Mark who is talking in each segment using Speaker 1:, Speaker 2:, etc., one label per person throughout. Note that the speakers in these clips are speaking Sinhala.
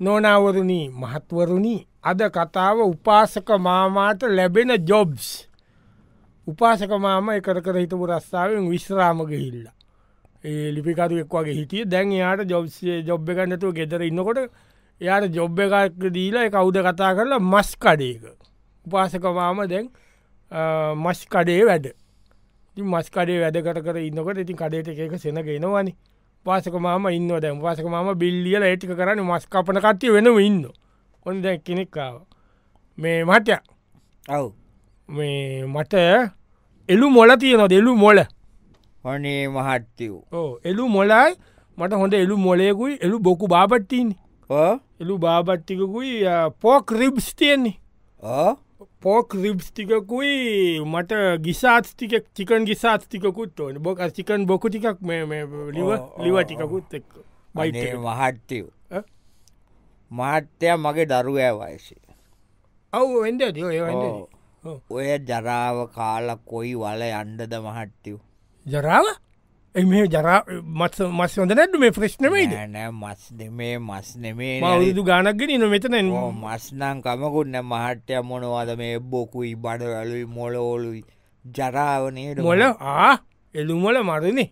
Speaker 1: නොනවරුණී මහත්වරුණී අද කතාව උපාසක මාමාට ලැබෙන ජොබ්ස් උපාසක මාම එකර කර හිතපු රස්සාාවෙන් විශ්‍රාමගහිල්ල ඒ ලිපිකරුවෙක් වගේ හිටිය දැන් එයාට ජොබ්සේ ජොබ් එකන්නතුව ගෙදර ඉන්නකොට එයාට ජොබ් එකක් දීලා කවුද කතා කරලා මස් කඩේක උපාසක මාම දැන් මස් කඩේ වැඩ ඉතින් මස් කඩේ වැඩ කර කර ඉන්නකොට ඉතින් කඩේට එක සෙන ගෙනවානි පාසක මාම ඉන්න දැම් පාසක මාම බිල්ලියල ඒටික කරන්න මස් කපන කටය වෙනම ඉන්න ඔොන් දැ කෙනෙක්කාව මේ මටය
Speaker 2: ඔව්
Speaker 1: මේ මට එලු මොල තියෙන දෙලු මොල
Speaker 2: හොනේ මහත්තයූ
Speaker 1: ඕ එලු මොලයි මට හොඳ එලු මොලයකුයි එලු බොකු බාපට්ටීන්
Speaker 2: ඕ
Speaker 1: එලු බාපට්ටිකකුයි පෝක් රිබ්ස් තියෙන්නේ
Speaker 2: ඕ
Speaker 1: පෝක් රිබ්ස් ටිකකුයි මට ගිසාත්තික චිකන් ගිසාත්තිකුත් ඕන බොක චිකන් බොකු ටිකක් මේ මේ ලිව
Speaker 2: ඕ,
Speaker 1: ලිව
Speaker 2: ඕ,
Speaker 1: ටිකකුත් එක්
Speaker 2: මනේ මහත්තයූ
Speaker 1: ඈ?
Speaker 2: මහත්තයා මගේ දරුවෑ වයසි
Speaker 1: ඔව් වෙන්ඩ දෝ
Speaker 2: ඕ.
Speaker 1: Oh.
Speaker 2: ඔය ජරාව කාල කොයි වල අන්ඩද මහත්තයූ
Speaker 1: ජරාව එ මේ ජරා මත් මස් හොඳ නැට මේ ප්‍රශ්නමයිද
Speaker 2: නෑ මස් දෙමේ මස් නෙමේ නේද?
Speaker 1: මවුදු ගානක්ගෙන න මෙතන
Speaker 2: ඕ, මස්නම් කමකුන්න මහට්ටය මොනවාද මේ බොකුයි බඩවලුයි මොලෝලුයි ජරාවනයට
Speaker 1: මොල ආ එළුමොල මරනේ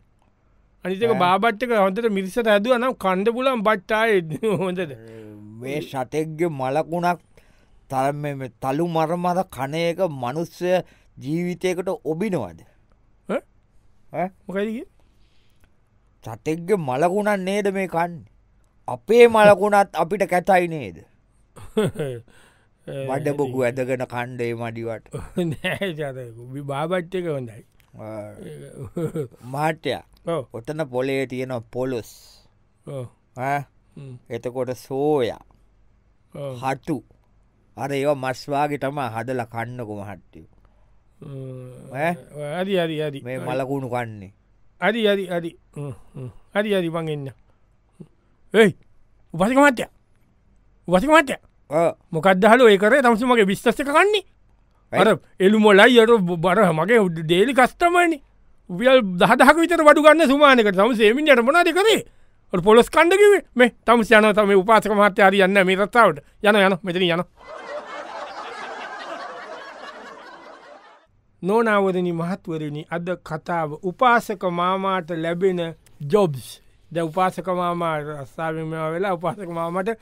Speaker 1: අනිතක බාබට්ක හොඳට මිරිසට ඇදුව නම් කණ්ඩ පුලන් බට්ටාය හොඳද
Speaker 2: මේ සතෙක්ග මලකුණක් තරම තලු මරමද කනයක මනුස්්‍ය ජීවිතයකට ඔබිනවද
Speaker 1: ඈ? මොකයිගේ
Speaker 2: සතෙක්ග මලකුණක් නේද මේ කන්න අපේ මලකුණත් අපිට කැතයි නේද
Speaker 1: Eh.
Speaker 2: වඩබොකු ඇදගෙන කණ්ඩේ මඩිවට
Speaker 1: නෑ බාබට්ටක හොඳයි
Speaker 2: මාට්‍යය
Speaker 1: ඔව්,
Speaker 2: ඔතන පොලේ තියෙන පොලොස්
Speaker 1: ඔව්,
Speaker 2: ඈ?
Speaker 1: හ්ම්,
Speaker 2: එතකොට සෝයා
Speaker 1: ඔව්.
Speaker 2: හටු අර ඒ මස්වාගේ තම හදල කන්නකුම හට්ටිය
Speaker 1: ම්ම්.
Speaker 2: ඈ?
Speaker 1: හරි හරි හරි
Speaker 2: මේ මලකුණු කන්නේ
Speaker 1: හරි හරි හරි හ්ම්, හ්ම්. හරි හරි බං එන්න ඒයි උපසික මත්‍ය උපසික මත්‍ය
Speaker 2: ඕ,
Speaker 1: මොකක්දහල ඒකර තමස මගේ විශ්තස්ක කන්නේ අර එළුමොලයි අර බර මගේ උඩ ඩේලි කස්ටමන වියල් දහදහක විතර වඩු ගන්න සුමානක තම සේමින් යට මොනාද කරේ ඔ පොලොස් කණ්ඩකිව මේ තම යන තම උපාසක මහත්‍ය හරි යන්න මේ රත්තාවට යන යන මෙතන යන නෝනාවරණ මහත්වරණි අද කතාව උපාසක මාමාට ලැබෙන ජොබ්ස් ද උපාසක මාමා රස්සාාවම වෙලා උපාසක මාමට අ,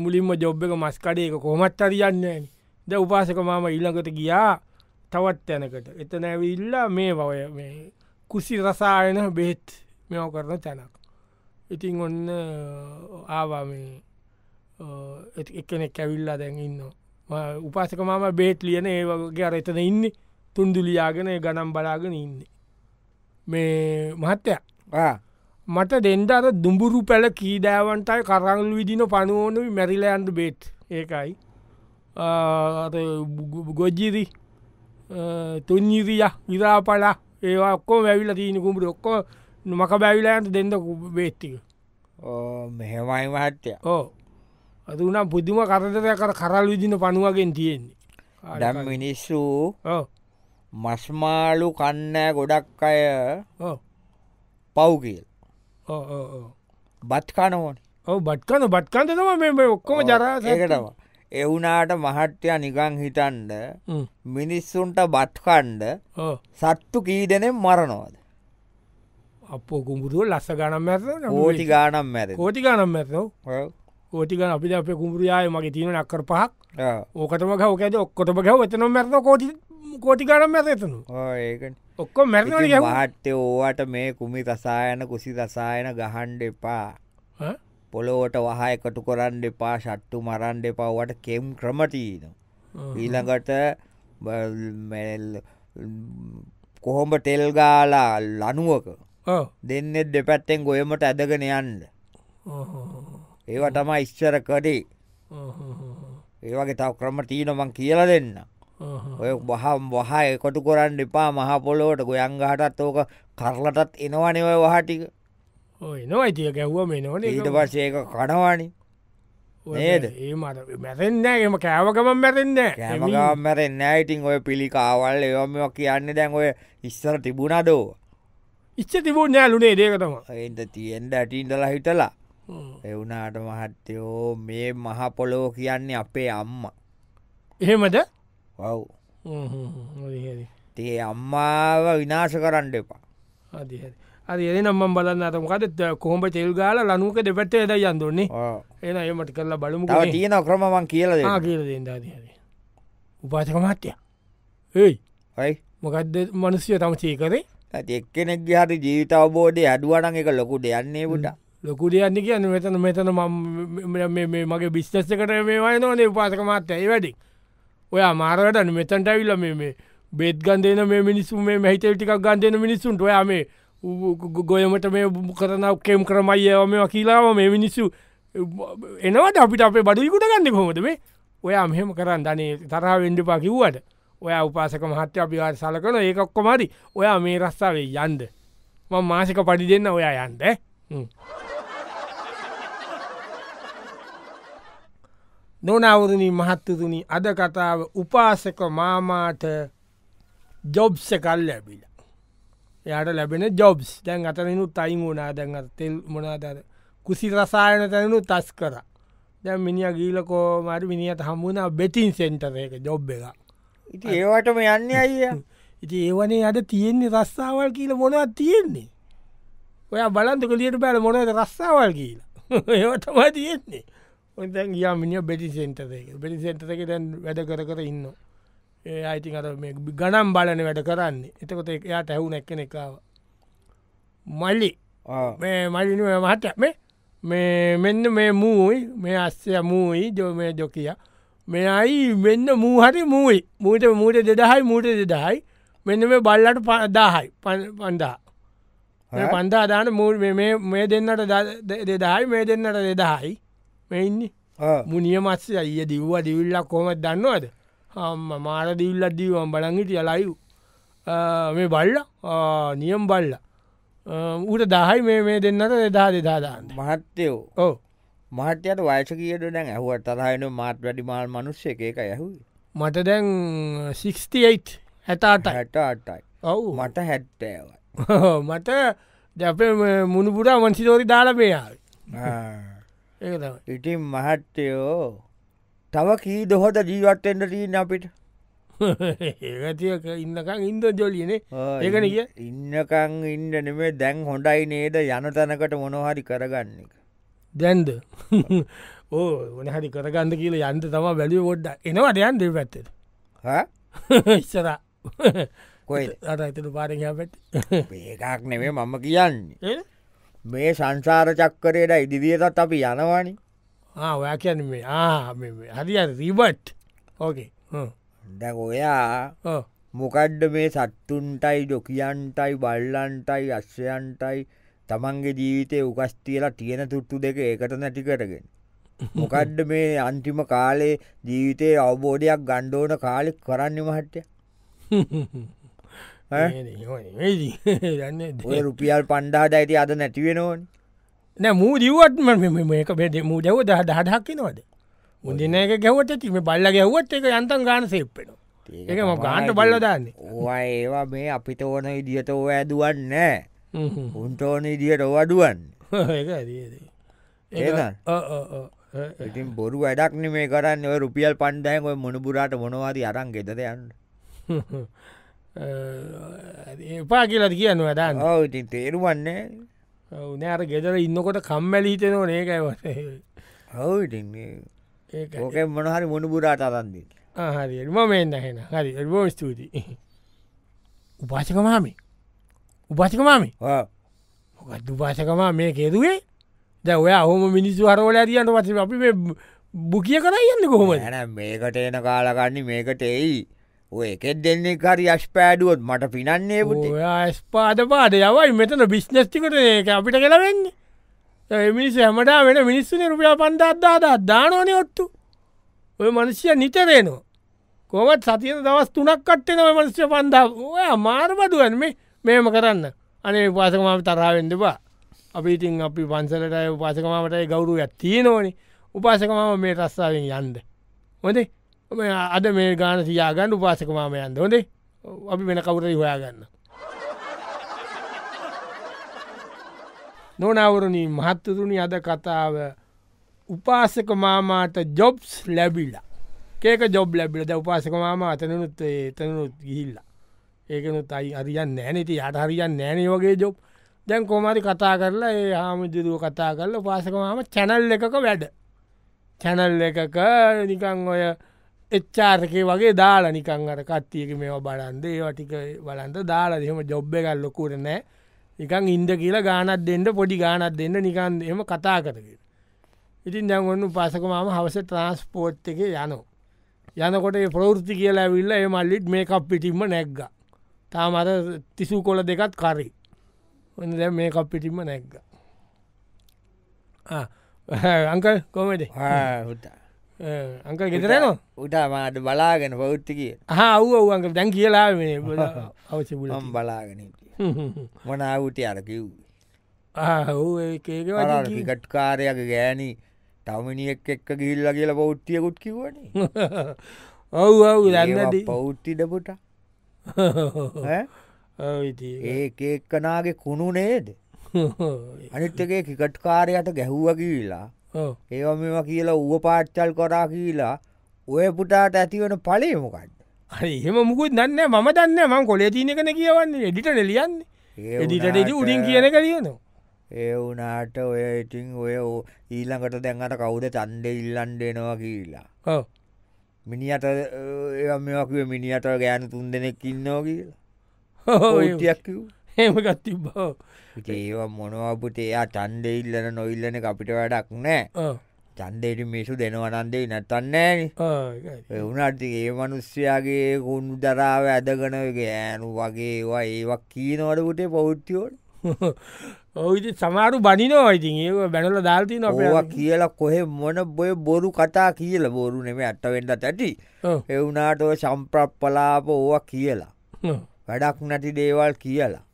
Speaker 1: මුලින්ම ජොබ් එක මස්කඩයක කොමත් අරියන්න ද උපාසක මාම ඉල්ලඟට ගියා තවත් තැනකට එතන ඇවිල්ලා මේ බවය මේ කුසි රසායන බෙහෙත් මෙෝ කරන තැනක් ඉතින් ඔන්න අ, ආවා මේ අ, එක්- එක්කෙනෙක් ඇවිල්ලා දැන් ඉන්න උපාසක මාම බේට් ලියන ඒ වගේ අර එතන ඉන්න තුන්දුලියාගෙන ඒ ගනම් බලාගෙන ඉන්න මේ මහත්තය
Speaker 2: ආ,
Speaker 1: මට දෙන්ඩර දුඹුරු පැල කීදෑවන්ටයි කරල් විදින පනුවනු මැරිලෑන්ඩ් බේට් ඒකයි ගොජ්ජිරි තුන්ජිරිය විරාපලා ඒවා ඔක්කෝ වැැවිල තියන කුඹට ඔක්කෝ මක බැවිලෑන්ට දෙන්න බේට්ටික
Speaker 2: ඕ, මෙහෙමයි මහත්තය
Speaker 1: ඕ අතුනම් පුදුම කරදරය කර කරල් විදින පනුවගෙන් තියෙන්නේ
Speaker 2: දැම් මිනිස්සු
Speaker 1: ඕ
Speaker 2: මස්මාලු කන්නෑ ගොඩක් අය
Speaker 1: ඕ
Speaker 2: පව්ගල්
Speaker 1: ඕ ඕ ඕ
Speaker 2: බත් කනවන
Speaker 1: ඔව් බට්කන බට්කන්ත තම මෙම ඔක්කොම ජරා
Speaker 2: ඒකටම එවුනාට මහට්ටය නිකං හිටන්ඩ මිනිස්සුන්ට බත්කණ්ඩ
Speaker 1: ඕ
Speaker 2: සත්තු කීදනෙම් මරණවාද
Speaker 1: අපෝ කුඹුරුව ලස්ස ගනම් ඇත
Speaker 2: ඕටි ගානම් මැර
Speaker 1: කෝටි ගනම් ඇත කෝටිගන අපි අප කුඹුරයාය මගේ තියෙන අක්කර පහක් ඕකටම ගවකද ඔක්කොටම ගැව එතන මැරන කෝටි කෝටි ගනම් ඇත එතනු
Speaker 2: ඒකට
Speaker 1: ඔක්කො මැරණ ගැ
Speaker 2: මහට්ටය ඕවට මේ කුමි රසායන කුසි රසායන ගහන්ඩ එපා පොළොවට වහ එකටු කොරන්න එපා ශට්ටු මරන්ඩ එපාවට කෙම් ක්‍රමටීන ඊළඟට බ- මෙල්- කොහොඹ ටෙල් ගාලා ලනුවක දෙන්නෙත් දෙපැත්තෙන් ගොයමට ඇදගෙන යන්න ඒව තම ඉස්්චර කඩේ ඒවගේ තව ක්‍රම තීනමං කියලා දෙන්න ඔය බහම් වහ එකොටු කොරන්න එපා මහ පොලොවට ගොයංගහටත් ඕක කරලටත් එනවනව වහටික
Speaker 1: එනවා අයිතිය ගැව්ව මේ නොන
Speaker 2: ඊට පස්සේක කනවානි නේද?
Speaker 1: ඒ මට මැරෙන්න්නෑ එම කෑවකමම් මැරෙන්න
Speaker 2: කෑමගම්මරෙන් නෑයිටින් ඔය පිළිකාවල් ඒවම කියන්න දැන් ඔය ඉස්සර තිබුණදෝ
Speaker 1: ඉච්ච තිබූ නෑලුනේ දේකතම
Speaker 2: එන්ට තියෙන්ට ඇටින්ටලා හිටලා එවුනාට මහත්තයෝ මේ මහපොලෝ කියන්නේ අපේ අම්ම
Speaker 1: එහෙමද
Speaker 2: වව්
Speaker 1: හරි
Speaker 2: තිේ අම්මාව විනාශ කරන්න එපා
Speaker 1: අද එන නම්ම බලන්න අතමකද කොහොම තෙල් ගාල ලනුක දෙපැත්ත ඇද යන්දුන්නේ
Speaker 2: ඔව්.
Speaker 1: එන එමට කරලා බලමු
Speaker 2: තව තියෙන ක්‍රමවන් කියලද
Speaker 1: කියලදදාද උපාසක මහත්තය ඒයි
Speaker 2: යි
Speaker 1: මොකක්ද මනුස්්‍යය තම චේකරේ
Speaker 2: ඇති එක්කෙනෙක් හරි ජීවිත අවබෝධය අඩුවනන් එක ලොකු දෙයන්නේ පුට
Speaker 1: ලොකු දෙයන්න කියන්න මෙතන මෙතන මම මේ මගේ බිස්්ටස්සකට මේවාය නොනේ උපාසක මත්තය ඒ වැඩි ඔය මාරවටන මෙතන්ට ඇවිල්ල මේ මේ බේත් ගන්දන මේ මිනිස්සු මේ මහිතල් ටික් ගන්දන මිනිසුන්ට ඔයා මේ ඌ ගො- ගොයමට මේ කරනාව කෙම් කරමයියව මේ වකිලාව මේ මිනිස්සු එනවට අපිට අපේ බඩිකුට ගන්න කොමද මේ ඔයා මෙහෙම කරන්න ධනේ තරහ වෙන්ඩපා කිව්වට ඔයා උපාසක මහත්‍ය අපිවාට සලකන ඒකක්කොමරි ඔයා මේ රස්සාාවේ යන්ද මං මාසික පඩි දෙන්න ඔයා යන්ද නොනවරණී මහත්තතුනි අද කතාව උපාසක මාමාට ජොබ්ස කල් ලැබිල යට ලැබෙන ජොබ්ස් දැන් අතනනු තයින් වනා දැන් අර තෙල් මොනාදර කුසි රසායන තැනු තස් කර දැන් මිනිිය ගීලකෝ මරි මිනිියට හමුණා බෙටින් සෙන්ටර එක ජොබ් එකක්
Speaker 2: ඉති ඒවටම යන්න අයිය
Speaker 1: ඉති ඒවනේ අද තියෙන්නේ රස්සාවල් කියල මොනවත් තියෙන්නේ ඔය බලන්තක ලියට බැල මොනද රස්සාවල් කියලා ඒවටම තියෙන්නේ ඔතැන් ගියා මිනි බෙටි සෙන්ටරක බෙටි සෙන්ටරක දැන් වැඩ කර කර ඉන්න ඒ අයිති අර මේ ගනම් බලන වැඩ කරන්නේ එතකොට ඒ- එයාට ඇහුන එක්කන එකාව මල්ලි මේ මලිනුව මහට මේ මේ මෙන්න මේ මූයි මේ අස්සය මූයි ජොමය ජොකිය මේ අයි මෙන්න මූහරි මූයි මූට මූට දෙදහයි මූට දෙදහයි මෙන්න මේ බල්ලට පදාහයි පන්දා මේ පන්දා දාන මූ මේ දෙන්නට දෙදායි මේ දෙන්නට දෙදායි මෙඉන්න මුනිය මත්සේ අය දිව්ව දිවිල්ලක් කොමත් දන්නවද හම්ම මාර දිවිල්ල දීවම් බලංගිට යලයු මේ බල්ල ආ, නියම් බල්ල ඌට දහයි මේ මේ දෙන්නට එදා දෙදා දාන්න
Speaker 2: මහත්තයෝ
Speaker 1: ඕ
Speaker 2: මහත්‍යයට වයස කියට දැන් ඇහුවත් තරහන මාත් වැඩිමාල් මනුස්්‍ය එකක ඇහු
Speaker 1: මට දැන් 68 හැතාටයි
Speaker 2: හැට අටයි
Speaker 1: ඔවු
Speaker 2: මට හැත්තෑවයි
Speaker 1: මට දැප මුණපුරා මන්සිතෝරි දාලපයාාව ඒ තම
Speaker 2: ඉතින් මහත්තයෝ තව කී දොහොට ජීවත්තෙන්ට තිීන අපිට
Speaker 1: ඒගතියක ඉන්නකං ඉන්ද ජොලියනේ
Speaker 2: ආ,
Speaker 1: ඒකන කිය
Speaker 2: ඉන්නකං ඉන්න නෙමේ දැන් හොඳයි නේද යන තැනකට මොනොහරි කරගන්න එක
Speaker 1: දැන්ද ඕ වනහරි කරගන්න කියල යන්ත තම බැලිය ොඩ්ඩ එනවට යන් දෙ පැත්තෙන
Speaker 2: හා?
Speaker 1: ඉස්සර
Speaker 2: කොහෙද?
Speaker 1: අට ඇතට පාරයා පැත්
Speaker 2: ඒකක් නෙවේ මම කියන්නේ මේ සංසාර චක්කරයට ඉදිවියටත් අපි යනවානි
Speaker 1: ඔයා කියන්න මේ ආ මේ- මේ හරි අ රීබට් ඕකේ හ්ම්.
Speaker 2: දැන් ඔයා
Speaker 1: ඔව්.
Speaker 2: මොකඩ්ඩ මේ සට්ටුන්ටයි ඩොකියන්ටයි බල්ලන්ටයි අශ්‍යයන්ටයි තමන්ගේ ජීවිතය උකස් තියලා තියෙන තුට්ටු දෙක ඒකට නැති කරගෙන. මොකඩ්ඩ මේ අන්තිම කාලේ ජීවිතයේ අවබෝධයක් ගණ්ඩෝන කාලෙක් කරන්න මහට්ටය
Speaker 1: ඒ නේ, ඔය නෙමෙයි. දන්නේ
Speaker 2: ඔය
Speaker 1: නැහැ.
Speaker 2: රුපියල් පණ්ඩාට ඇති අද නැතිවෙනවන්
Speaker 1: නෑ මූ දිව්වත්ම මේක බෙද මූ දව දහ දහදක්කිනවද මුදින එක ගැවට ඇති මේ බල්ල ගැව්වත් එක යන්තන් ගාන සෙප්පෙන ඒක ම ගාන්ට බල්ල දාන්නේ
Speaker 2: ඕවා ඒවා මේ අපිට ඕන ඉදිට ඕ ඇදුවන්න උන්ට ඕන ඉදිට ඕවඩුවන්
Speaker 1: ඒක ඇරේ. ඒක-
Speaker 2: ඒකයි.
Speaker 1: ඔව්, ඔව්, ඔව්. ඒ- ඒ.
Speaker 2: ඉතින් බොරු වැඩක් නෙමේ කරන්න ඔය රුපියල් පණ්ඩයන් ඔය මොනපුරාට මොනවාද අරන් ගෙතදයන්න
Speaker 1: අ, එපා කියලට කියන්න වදාන්න
Speaker 2: ඕ ඉතින් තේරුවන්නේ
Speaker 1: නෑර ගෙදර ඉන්නකොට කම්මැලි හිතනවා ඒකයිව
Speaker 2: හව ඉතින් මේ
Speaker 1: ඒක
Speaker 2: ඕක මොනහරි මොනපුරාට අරන්දී
Speaker 1: හරි එම මෙන්න හෙන හරි එල්බෝම ස්තුතියි උපාසකමාමි උපාසකමාමි මොකත් උපාසකමා මේ කෙරුවේ ද ඔය හොම මිනිස්සු හරෝල ඇතියන්ට පස අපි මේ බුකිය කරයන්න කොහොම
Speaker 2: හැන මේකට එන කාලගන්නේ මේකට එයි ඔය එකෙත් දෙන්නේ කරි අශ්පෑඩුවොත් මට පිනන්නේ පුටේ
Speaker 1: ස්පාද පාද යවයි මෙතන බිස්්නස්තිකට ඒක අපිට කෙලවෙන්න මිනිස් හමට වෙන මිනිස්සුන රුපියා පන්ඩත්දාදා දානෝනය ඔත්තු ඔය මනුෂ්‍ය නිතරේනවා කොමත් සතිය දවස් තුනක් කට්ටෙන මනුෂ්‍ය පන්දා ඔය මාර්බඩුවන් මේ මේම කරන්න අනේ උපාසකමාව තරාවෙන්ඩපා අපි ඉතින් අපි පන්සලට උපාසකමාවටයි ගෞරුවයක් තියෙනෝනි උපාසකමාව මේ රස්සාාවෙන් යන්ද හොදේ ඔබ අද මේ ගාන සියාගන්න උපාසකමාම යන්ද හොදේ අපි වෙන කවුරයි හොයාගන්න නොනවරණී මහත්තතුනි අද කතාව උපාසක මාමාට ජොබ්ස් ලැබිල්ලා ඒක ජොබ් ලැබිල ද උපාසක මාම අතනනුත් එතනනුත් ගිහිල්ලා ඒකනුත් අයි අරියන් නෑනති යට හරියන් නෑනේ වගේ ජොබ් දැන් කොමරි කතා කරලා ඒ හාමුදුරුව කතා කරල උපාසක මාම චැනල් එකක වැඩ චැනල් එකක නිකං ඔය එච්චාර්කය වගේ දාලා නිකං අර කත්තියක මේ බලන්ද ඒවටික බලන්ද දාලා දෙම ජොබ්බ එකල් ලොකුර නෑ නිකං ඉන්ද කියලා ගානත් දෙන්න පොඩි ගානත් දෙන්න නිකන් එම කතා කරගෙන. ඉතින් දැන් ඔන්න පසක මම හවස ට්‍රන්ස්පෝට් එක යනෝ. යනකොට ප්‍රෘති කියලා ඇවිල්ල ඒ මල්ලිත් මේ කප් පිටිම්ම නැක්ග. තා මත තිසු කොල දෙකත් කරි. ඔන්න දැ මේ කප් පිටිම්ම නැක්ග. අංකල් කොමද අංක ගෙතරනවා
Speaker 2: උටා මාට බලාගෙන පෞෘත්තිකිය
Speaker 1: හා ව් අවුවන්ක දැන් කියලා මේ අවසි බුල
Speaker 2: ම් බලාගෙන මනාවුටය අර කිව්ේ
Speaker 1: ඒකේ
Speaker 2: පිකට්කාරයක ගෑනි තවමිනිියක් එක්ක ගිල්ල කියලා පෞට්ටියකුත් කිවන
Speaker 1: ඔව් ඔව් දන්නට
Speaker 2: පෞට්ටිඩපුට
Speaker 1: ඉති
Speaker 2: ඒක එක්කනාගේ කුණු නේද අනිත්තකේ කිකට්කාරයට ගැහුව කියලා
Speaker 1: ඕ
Speaker 2: ඒව මෙම කියලා ඌව පාට්චල් කොරා කියලා ඔය පුටාට ඇතිවන පලේමකන්න
Speaker 1: හරි එහෙම මුකුත් දන්න මම දන්න මං කොලේ තියන කන කියවන්නේ එඩිටට ලියන්නේ එඩිටට උඩින් කියන එක ලියනවා
Speaker 2: ඒ වනාට ඔය ඉටිං ඔය ඕ- ඊළඟට දැන්ට කවුද තන්ඩ ඉල්ලන්ඩෙනවා කියලා
Speaker 1: ඔව්.
Speaker 2: මිනිට මේකව මිනිට ගෑන තුන් දෙනෙක් ඉන්නවා කියලා
Speaker 1: ඔව්, එහෙම-
Speaker 2: ඔටියක්කිව්
Speaker 1: එහෙම ගත්ති බෝ
Speaker 2: ඒවා මොනවපුට එයා චන්ඩ ඉල්ලන නොඉල්ලන අපිට වැඩක් නෑ චන්දේට මිසු දෙනවනන්දේ නැතන්නෑ එවුනට ඒ මනුස්්‍යයාගේ කුණු දරාව ඇදගන ගෑනු වගේ ඒවා ඒවක් කීනවටකුටේ පෞට්ටියෝට
Speaker 1: ඔවිද සමාරු බනිනවා ඉතින් ඒ බැනල දාල්තින අප
Speaker 2: ඕවා කියලා කොහෙ මොන බොය බොරු කතා කියල බොරු නෙම ඇත්තවෙඩ ඇැටි එවුනාට සම්ප්‍රප්පලාප ඕවා කියලා වැඩක් නැති දේවල් කියලා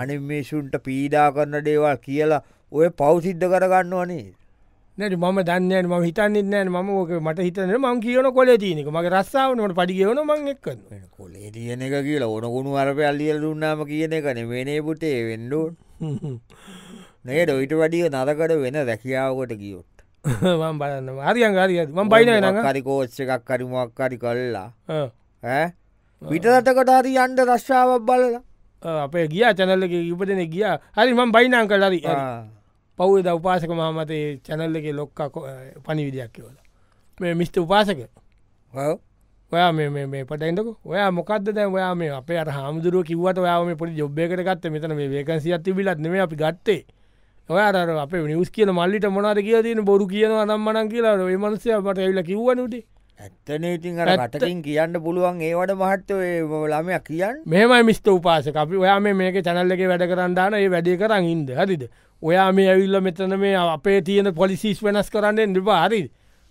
Speaker 2: අනි මිසුන්ට පීඩා කරන්න දේවල් කියලා ඔය පෞසිද්ධ කරගන්නවනේ
Speaker 1: නැට මම දන්න ම හිතන්න්නෑ ම ෝක මට හිතන මං කියන කොල තියනක මගේ රස්සාාවනට පටිගවන මං එක්කන්න
Speaker 2: කොලේ තියන එක කියලා ඕනකුණු අරපයල් ලියල් දුන්නාම කියන එක නෙමනේ පුටේ වෙන්ඩුවන් නේ ඩොයිට වඩිය නරකට වෙන රැකියාවකොට ගියොත්
Speaker 1: මං බලන්න ආරියන් ගරිය ම බයින නඟ
Speaker 2: කරිකෝච්ච එකක් කරිමක් කරි කල්ලා ඈ? පිටරටකට හරි අන්ඩ රශ්ාවක් බලලා
Speaker 1: අපේ ගිය චැනල්ල එක ඉපදන ගිය හරි මං බයිනං කලරි පව්ද උපාසක මහමතේ චැනල්ල එක ලොක්ක පනි විදියක් කියවල මේ මිස්ට උපාසක
Speaker 2: ඔව්.
Speaker 1: ඔයා මේ- මේ මේ පටයින්ටක ඔයා මොකක්ද දැ ඔයා මේ අපේ අර හාමුදුරුව කිවට ඔයාම පොඩි ජොබ්බයකටගත්ත මෙතන මේ වේකන්සි අති පිලත්නම අපි ගත්තේ ඔයාර අප නිස් කියන මල්ලිට මොනාද කිය තියෙන බොරු කියනවා නම්මනන් කියලා ඒ මනසයට ඇවිල කිව්වනුට
Speaker 2: ඇත්තනේ ඉතින් අර කටකින් කියන්න පුළුවන් ඒවට මහත්තෝ ළමය කියන්න
Speaker 1: මෙමයි මිස්ත උපාසක අපි ඔයා මේ මේක චැනල්ල එක වැඩ කරන්දාන ඒ වැඩේ කරන්න ඉන්ද හරිද ඔයා මේ ඇවිල්ල මෙතන මේ අපේ තියෙන පොලිසිස් වෙනස් කරන්න එපා හරි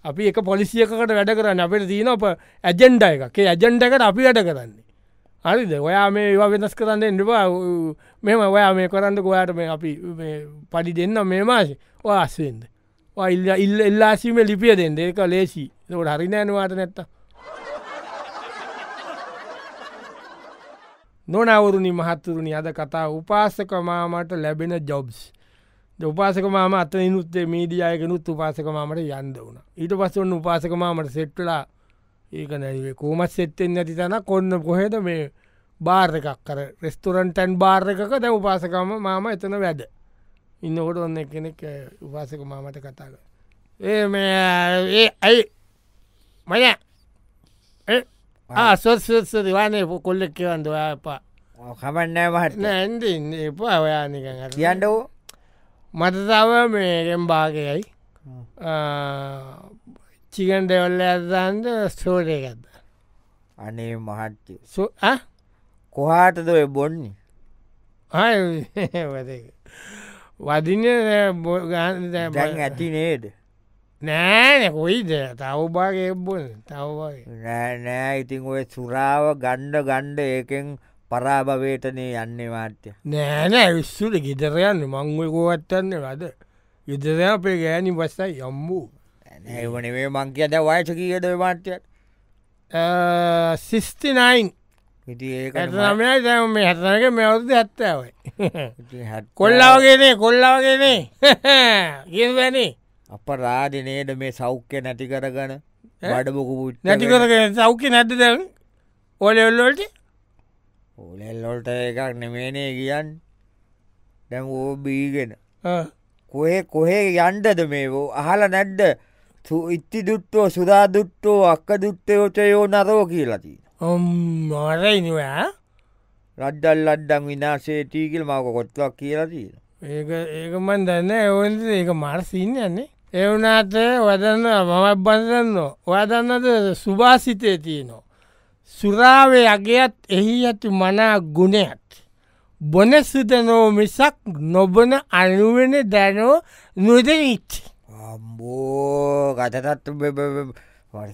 Speaker 1: අපි එක පොලිසියකට වැඩ කරන්න අපට තියෙන අප ඇජෙන්ඩ එකේ ඇජෙන්ඩකට අපි වැඩ කරන්නේ හරිද ඔයා මේ ඒවා වෙනස් කරන්න එන්නවා මෙම ඔයා මේ කරන්න ගොයාට මේ අපි මේ පඩි දෙන්න මේ මාසි වාස්සෙන්ද ඉල්ල ඉල්ල එල්ලාසීම ලිපිය දෙන්න ඒක ලේසි ට හරිනෑනවාට නැත්ත නොනවරුණි මහත්තුරුණි අද කතා උපාසක මාමට ලැබෙන ජොබ්ස් උපාසක මාම අත නිුත්තේ මීඩියයකනුත් උපාසක මාමට යන්ද වුණ ඊට පස්සවන්න උපාසක මාමට සෙට්ටලා ඒක නැ කෝමත් සෙත්තෙන් නැති තන කොන්න කොහෙද මේ බාර් එකක් කර රෙස්තුරන්ටන් බාර් එකක දැ උපාසකම මාම එතන වැඩ ඉන්නකොට ඔන්න කෙනෙක් අ, උපාසක මාමට කතාක ඒ මේ ඒ ඇයි මය ආසොත්ස දිවානේ කොල්ලෙක් කියවන්ද ඔයා එපා
Speaker 2: කමන්නෑ මහත්
Speaker 1: නෑ ඇන්ද ඉන්න එපා ඔයානික
Speaker 2: කියන්න ඕ
Speaker 1: මතතාව මේගෙන් භාගයයි චිකන් ඩෙවල්ල ඇදන්ද ස්ටෝඩය ගත්ද
Speaker 2: අනේ මහත්තය
Speaker 1: සු
Speaker 2: කොහාටද ඔය බොන්නේ
Speaker 1: වදින
Speaker 2: දැන් ඇති නේද
Speaker 1: නෑන කොයිද තවබාගේ එබ්බොන තවබාගේ
Speaker 2: නෑ නෑ ඉතිං ඔය සුරාව ගණ්ඩ ගණ්ඩ ඒකෙන් පරාභවේටනය යන්නේ මාට්‍ය
Speaker 1: නෑනෑ විස්සුට ගෙදරයන්න මංගකෝවත්තන්න වද ගෙදරය අපේ ගෑනි පස්සයි යම්බූ
Speaker 2: ඇවනේ මංකය ද වයස කියද මාට්‍යයට
Speaker 1: සිිස්තිනයින්
Speaker 2: ඉති ඒක
Speaker 1: ඇතනමයි දැ මේ හැතනක මෙවද ඇත්තාවයි
Speaker 2: කොල්ලාවගේ
Speaker 1: කොල්ලාවගේනේ කොල්ලාවගේනේ ගවැනි
Speaker 2: අප රාධනේද මේ සෞඛ්‍ය නැති කරගන වැඩබොකු
Speaker 1: නැතිකරගෙන සෞඛ්‍ය නැත්ත දැ ඕලෙල්ලෝට
Speaker 2: ඕලෙල්ලොල්ට එකක් නෙමේනේ කියන් දැන් ඕ බීගෙන කොහේ කොහේ යන්ඩද මේ වෝ අහල නැඩ්ඩ ඉත්ති දුට්ටෝ සුදා දුට්ටෝ අක්ක දුට්ටයෝචයෝ නරෝ කියලතිී
Speaker 1: මාරයිනවා
Speaker 2: රද්දල් අඩ්ඩන් විනාශේටීකල් මවක කොත්ලක් කියලතිීන
Speaker 1: ඒක ඒකමන් දන්න එවන් ඒක මරසිීන් යන්නේ එවනාට වදන්න මමත් බඳන්න ඔයදන්නද සුභාසිතය තියනවා. සුරාවේ අගේත් එහි ඇති මනා ගුණයක්. බොන සිතනෝ මිසක් නොබන අනුවෙන දැනෝ නොදනිච්චි.
Speaker 2: අම්බෝ ගතතත්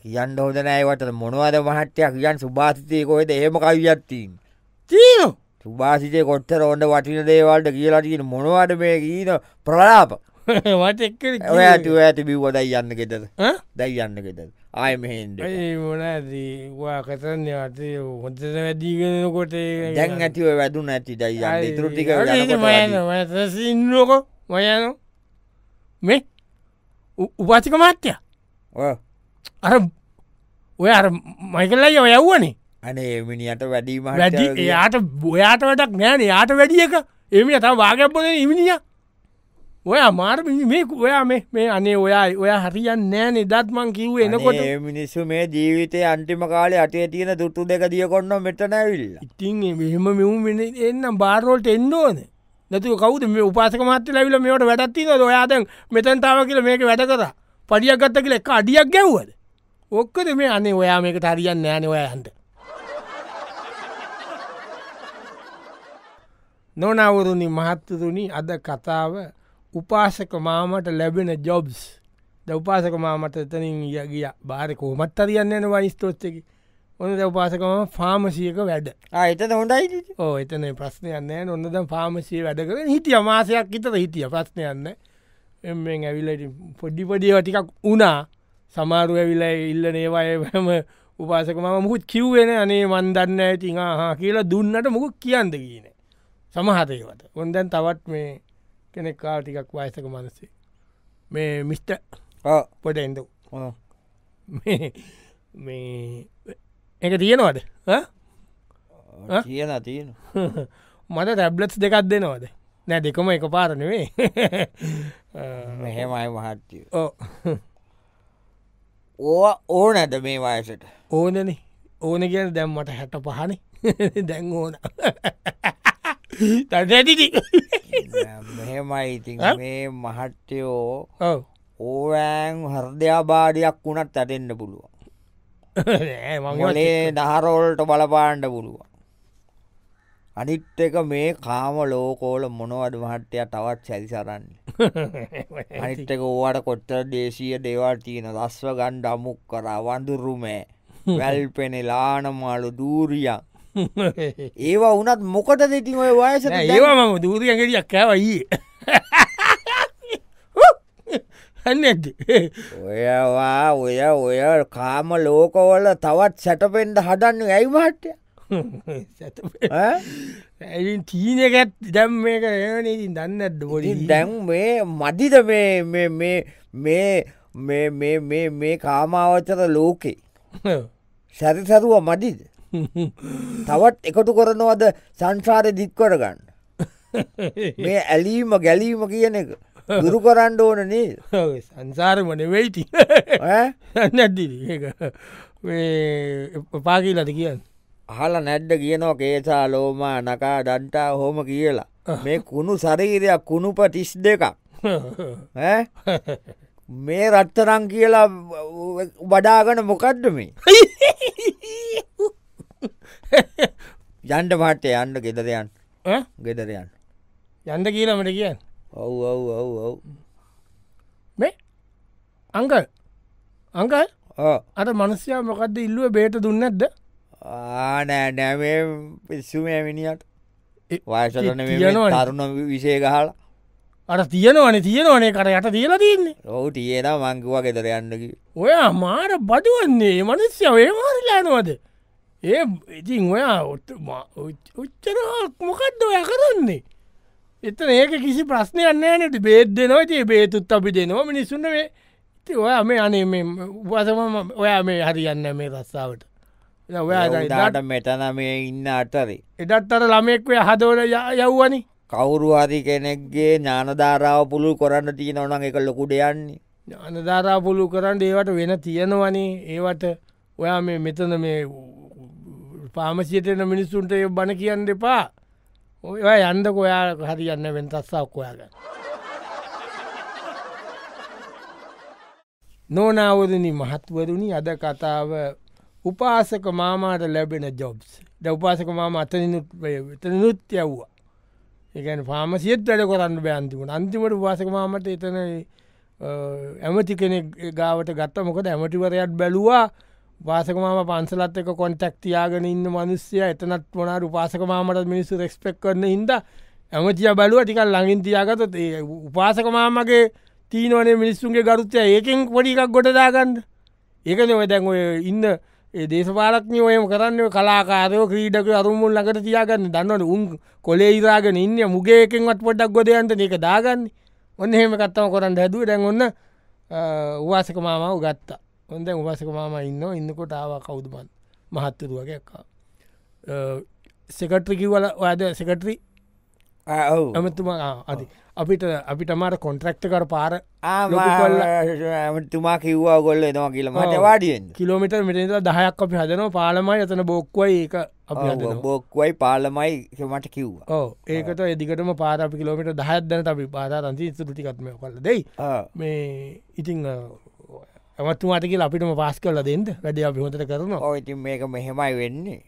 Speaker 2: කියන්න හොදනෑවට මොනවද මහට්ටයක් කියන් සුභාසිතය කොහෙද ඒම කවියත්තිීන්.
Speaker 1: තිීනෝ
Speaker 2: සුභාසිතය කොට්ටර ඔන්න වටින දේවල්ට කියලාටීන මොනවට මේ ගීන ප්‍රලාප
Speaker 1: වට
Speaker 2: ඔය ඇති ඇති බිව්වදයි යන්න ගෙතද දැයි යන්න ගෙතද ආය මෙහෙන්ට
Speaker 1: මොනදවා කතන්න අතේ හොඳ වැඩීගෙනකොට
Speaker 2: දැන් ඇතිව වැදු නැති දයි යන්න තුෘතික
Speaker 1: සින්නෝක මයනු මේ උපාතික මාත්‍ය අර ඔය අර මයිකල්ලයි ඔය යව්වනේ
Speaker 2: අනේ මිනිට වැඩීම
Speaker 1: වැඩි එයාට බොයාට වැඩක් නෑන යාට වැඩිය එක එම තම වාගැපන ඉමිනිිය ඔය අමාර මේ ඔයා මේ මේ අනේ ඔයා ඔය හරියන් නෑනේ දත්මං කිව් එනකොට
Speaker 2: මිනිස්සු මේ ජීවිතය අන්ටිම කාලේ අටේ තියෙන දුට්ටු දෙක දිය කොන්න මෙටනැවිල්
Speaker 1: ඉතින් මෙහෙම මෙම එන්නම් බාරෝල්ට එන්ඩෝන නැතු කවද මේ උපාසක මත්ත ලැවිල මේට වැඩත්තින ඔයාදැන් මෙතන්තාව කියල මේක වැඩ කතා පඩියක් ගත්ත කියල එක අඩියක් ගැව්වද ඔක්කද මේ අනේ ඔයා මේක හරියන් නෑන ඔයහන්ට නොනවරුණි මහත්තතුනි අද කතාව උපාසක මාමට ලැබෙන ජොබ්ස් ද උපාසක මාමට එතනින් යගිය බාර කෝමත් අරියන්න යන වනිස්තෝච්චකි ඔන්න ද උපාසකම ෆාමසියක වැඩ
Speaker 2: අයතද හොඳයි
Speaker 1: ඕ එතන ප්‍රශ්නයන්න ඔන්නද ෆාමසිය වැඩ කර හිටිය මාසයක් හිතර හිටිය ප්‍රශ්නයන්න එෙන් ඇවිලට පොඩ්ඩිපඩිය ටිකක් වනා සමාරු ඇවිලා ඉල්ල නේවායම උපාසක මම මුකුත් කිව්වෙන අනේ මන්දන්න ඇතිං හා කියලා දුන්නට මුකුත් කියන්ද කියනේ සමහතයවට ඔොන්දැන් තවත් මේ කෙනෙක් කාව ටිකක් වයසක මනසේ මේ මිස්ට පොට එඳ මේ එක තියෙනවද
Speaker 2: කියන තියෙන
Speaker 1: මට ටැබ්ලෙට්ස් දෙකක් දෙනවද නෑ දෙකම එක පාරනවේ
Speaker 2: මෙහෙමයි මහත්තිය
Speaker 1: ඕ
Speaker 2: ඕ ඕ නැද මේ වයසට
Speaker 1: ඕනන ඕන කියන දැම් මට හැට පහනේ දැන් ඕන තැටිටි
Speaker 2: මෙහෙමයි ඉතින් මේ මහට්ටයෝ
Speaker 1: ඔව
Speaker 2: ඕවෑන් හර්දයාබාඩයක් වුණත් ඇටෙන්න්න පුළුවන් මංලේ දහරෝල්ට බලපාණ්ඩ පුළුවන් අනිත් එක මේ කාම ලෝකෝල මොනවද මහට්ටය තවත් සැරිසරන්නේ අනිත් එක ඕවට කොච්චර දේශීය දේවල් තියෙන දස්ව ගණ්ඩ අමුක් කර වඳුරුමෑ වැල් පෙනෙ ලානමාලු දූරියන් ඒවා වනත් මොකට දෙති ඔය වයස
Speaker 1: ඒවා මම දූරියගෙටියක් කෑවයි හන්න ඇති
Speaker 2: ඔයවා ඔය ඔය කාම ලෝකවල තවත් සැටපෙන්ට හදන්න ඇයිමට්ය
Speaker 1: ඇ චීනකත් දැම් මේක ඒනඉතින් දන්න ඇද බොලින්
Speaker 2: දැන් මේ මදිද මේ මේ මේ මේ මේ කාමාවචර ලෝකේ සැරිසරුව මදිද තවත් එකතු කරනවද සංසාරය දික්කරගන්න මේ ඇලීම ගැලීම කියන එක දුරු කරන්න ඕන නේ
Speaker 1: සංසාරමන වෙයිති නැද්දි පාකිලද කියන්න
Speaker 2: අහල නැඩ්ඩ කියනවා කේසා ලෝමා නකා ඩන්ටා හෝම කියලා මේ කුණු සරීරයක් කුණුප ටිස් දෙකක් මේ රත්තරං කියලා වඩාගන මොකක්ද මේ යන්ඩ පාටේ යන්න ගෙදරයන් ගෙදරයන්
Speaker 1: යන්ද කියීලමට කියන්න
Speaker 2: ඔව් ඔව් ඔව් ඔව්
Speaker 1: මේ අංකල් අංකල්
Speaker 2: ඕ
Speaker 1: අට මනස්යා මොකක්ද ඉල්ලුව බේට දුන්නද
Speaker 2: ආනෑ නෑමේ පිස්සුමය මිනිියට
Speaker 1: ඒ-
Speaker 2: වයසටන
Speaker 1: තියෙනවනේ.
Speaker 2: තරුණ විසේ ගහල
Speaker 1: අට තියෙනවනේ තියෙනවනේ කර යට තියලා තින්නේ
Speaker 2: ඔහු තියෙන මංකිවා ගෙදර යන්නකි
Speaker 1: ඔය මාර බදුවන්නේ මනුස්්‍ය ඒමාරලානවද ඒ ඉතින් ඔයා උච්චර මොකක්ද ඔය කරන්නේ එතන ඒක කිසි ප්‍රශ්නයන්නේනට බේද දෙනවා තිය බේතුත් අපි දෙනවා මිනිසුන්න මේ ඉතින් ඔයා මේ අනේ මේ වසම ඔයා මේ හරියන්න මේ රස්සාාවට
Speaker 2: දාට මෙටන මේ ඉන්න අතරේ
Speaker 1: එඩත් අර ළමෙක්වේ හදෝල යව්වනි
Speaker 2: කවුරු හරි කෙනෙක්ගේ ඥානධාරාව පුළුල් කරන්න තියෙන ඕන එක ලොකුඩ යන්නේ
Speaker 1: අනධාරා පුළු කරන්න ඒවට වෙන තියෙනවනේ ඒවට ඔයා මේ මෙතන මේ පාමසියටන මිනිස්සුන්ට ඒ බණ කියන්න එපා ඔය යන්න කොයා හරි යන්න වෙන්තස්සාක් කොයාග නෝනාවදනි මහත්වරුණි අද කතාව උපාසක මාමාට ලැබෙන ජොබ්ස් ද උපාසක මාම අතනනුත් එතනනුත් යව්වා එකන පාමසියත් වැඩ කොරන්න බෑන්තිමට අන්තිමට උපාසක මාමට එතන ඇමති කෙනෙක් ගාවට ගත්ත මොකද ඇමටිවරයක් බැලවා වාසකමාම පන්සලත් එක කොන්ටක් තියාගෙන ඉන්න මනුස්්‍යය එතනත් වනාට උපාසක මාමට මිනිස්සු රෙක්ස්පෙක් කරන හිද ඇමතිය බැලුව ටිකල් ලඟින් තියාගතත් ඒ උපාසක මාමගේ තීනවනේ මිනිස්සුන්ගේ ගරුත්තය ඒකෙන් පොඩිකක් ගොඩදාගන්න ඒකන ඔය දැන් ඔය ඉන්න ඒ දේශපාලක්නය ඔයම කරන්න කලාකාරයෝ ක්‍රීඩක අරුමුල් ලඟට තියාගන්න දන්නවන උන් කොලේ ඉරාගෙන ඉන්න මුගේකෙන්වත් පොඩක් ගොඩයන්ට ඒක දාගන්න ඔන්න හෙම කත්තම කොරන්න හැදුව දැන් ඔන්න උවාසක මාමාව ගත්තා ඔොන්ද උවාසක මාම ඉන්න ඉන්නකොට ආව කවුදුමන් මහත්තතුරුවගේක්කා සෙකට්‍රිකිවල ඔයද සෙකට්‍රි ඇමතුමා අද අපිට අපිට මාට කොන්ට්‍රක්ට කර පාර
Speaker 2: ආමතුමා කිව්වා ගොල්ල එනවා කියලමට වාඩියෙන්
Speaker 1: කිලෝමිට මෙට දහයක් අපි හදනවා පාලමයි එතන බොක්වයි ඒක
Speaker 2: බොක්වයි පාලමයි මට කිව්වා
Speaker 1: ඕ ඒකට එදිකටම පාරපි කිලෝමිට දහයදන අපි පාරන්ති තුටිකත්ම කල දෙයි මේ ඉතිං ඇමතුමාටක අපිටම පස් කල දෙන්න වැඩ අපි හොතට කරනවා
Speaker 2: ඕඉතින් මේක මෙහෙමයි වෙන්නේ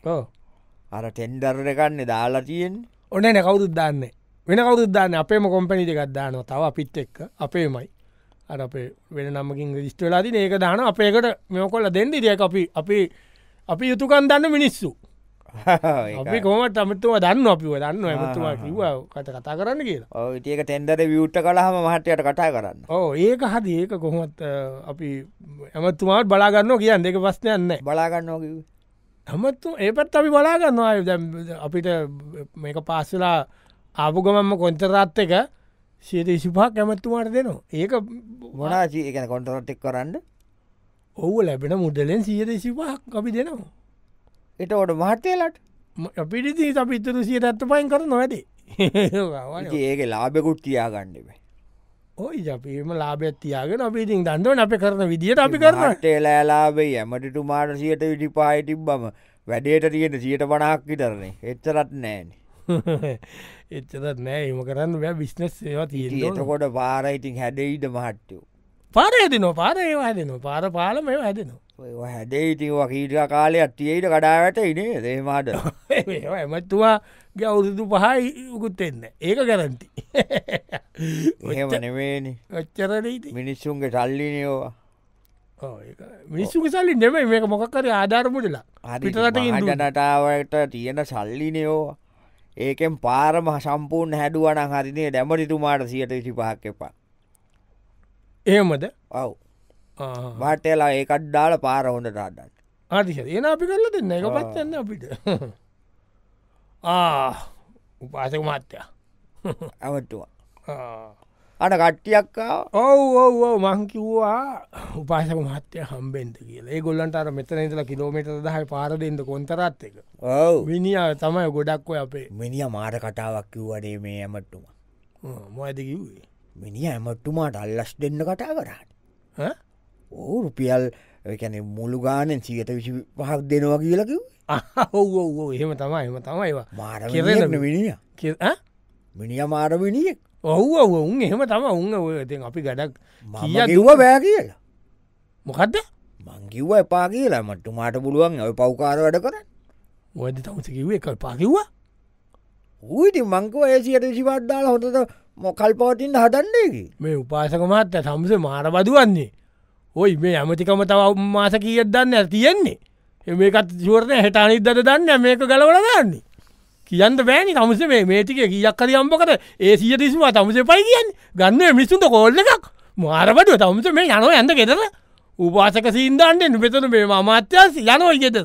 Speaker 2: අර ටෙන්ඩර් එකන්න දාලා තියෙන්
Speaker 1: ඔන්න නැකවුරුත් දන්නේ වෙන කවුරුද්දාන්න අපේම කොම්පැනිට එකක් දානවා තව අපිත් එක්ක අපේමයි අර අපේ වෙන නම්මකින් රිස්ට වෙලාදී ඒක දාන අපේකට මෙකොල්ල දෙන්ඩි දෙයක් අපි අපි අපි යුතුකන් දන්න මිනිස්සු අපි කොමට අමතුම දන්න අපිව දන්න ඇමතුවා කිවවා කට කතා කරන්න කියලා
Speaker 2: ඒක තෙන්දර වියුට්ට කලාහම මහටයට කටා කරන්න
Speaker 1: ඕ ඒක හරි ඒක කොහොමත් අපි ඇමතුමාට බලාගන්න කියන්න දෙක පස්නයන්න
Speaker 2: බලාගන්නෝ
Speaker 1: හමතු ඒ පත් අපි බලාගන්නවා අපිට මේක පාස්සලා ආපුගමම කොන්තරත් එක සියට ඉසිපා කැමැත්තුමාට දෙනවා ඒක
Speaker 2: මොනාචී එකන කොන්ටරටෙක් කරන්න
Speaker 1: ඔහු ලැබෙන මුදලෙන් සියට ඉසිපාක් අපි දෙනවා
Speaker 2: එට ඔඩ මහත්තයලට
Speaker 1: අපිටි අපි ඉතුරු සියට ඇත්ත පයින් කර නොවැදේ
Speaker 2: ඒක ලාබෙකුත් තියාගණ්ඩෙබ
Speaker 1: ඔයි අපිම ලාබෙත් තියාගෙන අපිඉතින් දන්දවන අපි කරන විදිට අපි කරන්න
Speaker 2: ටේලෑලාබේ ඇමටිටු මාට සියට විටිපායි තිබ්බම වැඩේට තියෙන සියට පනාක් විතරන්නේ එච්චරත් නෑනේ
Speaker 1: එච්චදත් නෑ එම කරන්න වැ විශ්නස් ඒවා තිය
Speaker 2: එතකොට පාරයිඉතින් හැඩයිද මහට්ටෝ
Speaker 1: පාර ඇදන පාර ඒවා හැදන පාර පාල මෙ හැදනවා
Speaker 2: හැඩයිඉතින් වකීට කාලය අට්ටියට කඩාවට ඉනේ දේමාට
Speaker 1: ඇමත්තුවා ගෞරුදු පහයි උකුත්තෙන්න ඒක ගැරන්ති
Speaker 2: එහෙම නෙමේනි
Speaker 1: ඔච්චරට
Speaker 2: මිනිස්සුන්ගේ සල්ලිනයෝවා
Speaker 1: මිනිස්සු සල්ලි නෙම මේක මොකක්කර ආධාරමුටලා
Speaker 2: හරිටට නටාවට තියෙන සල්ලිනයෝවා ඒකෙන් පාරම සම්පූර්ණ හැඩුවන හරිනේ දැමටිතුමාට සියට විසි පහක් එපා
Speaker 1: එහෙමද
Speaker 2: ඔව් වාටලා ඒකත් දාල පාර හොඳට අඩන්න
Speaker 1: ආටිහ එන අපි කරල දෙන්න එක පත්න්න අපිට උපාසක මාත්‍යයා
Speaker 2: ඇමටවා අන කට්ටියක්කා
Speaker 1: ඔව ඔව මංකිව්වා උපාසක මහත්‍යය හම්බෙන්ට කියලා ඒ ගොල්ලන්ට අර මෙතන ඉතල කිලෝමට දහයි පාරදෙන්ට කොන්තරත් එක
Speaker 2: ඔව
Speaker 1: මිනිිය තමයි ගොඩක්ව අපේ
Speaker 2: මිනිිය මාට කටාවක් කිව්වඩේ මේ ඇමට්ටුම
Speaker 1: මොයද කිව්වේ
Speaker 2: මිනිිය ඇමට්ටුමාට අල්ලස් දෙන්න කටා කරන්න
Speaker 1: ඈ?
Speaker 2: ඕ රුපියල් එකැන මුළු ගානෙන් සිගත විසි පහක් දෙනවා කියලකිව
Speaker 1: ඔව ඔව එහෙම තමයි එම තමයිවා
Speaker 2: මාර
Speaker 1: කෙරෙන
Speaker 2: මිනිිය මිනිිය මාර මිනිියෙක්
Speaker 1: ඔහු ඔව උන් එහෙම තම උන්න ඔයතින් අපි ගඩක්
Speaker 2: මම
Speaker 1: කීයක්-
Speaker 2: කිව්ව බෑ කියලා
Speaker 1: මොකක්ද
Speaker 2: මංකිව්ව එපා කියලා මට්ටුමාට පුළුවන් ඔය පව්කාර වැඩ කරන්න
Speaker 1: ඔයද තවස කිව්ව එක පාකිව්වා
Speaker 2: ඌයිති මංකව ඒසියට විසිපට්දාල හොඳට මොකල් පවතින් හටන්නේකි
Speaker 1: මේ උපාසක මහත්ත සම්ස මාර බදුවන්නේ ඔයි මේ ඇමතිකම තව මාස කියත් දන්න තියෙන්නේ එ මේකත් ජුවරණය හටනිදට දන්න මේක ගලවල දන්නේ කියන්න බෑනි තමස මේ මේටික කියක්කර යම්පකට ඒ සිය තිස්වා තමස පයි කියන්න ගන්න මිසුන්ට කෝල්ල එකක් මාරබටුව තමස මේ යනෝ ඇඳ ගෙතර උපාසක සින්දන්ට නිපෙතන මේ අමාත්‍යස් යනෝ ඉගෙතද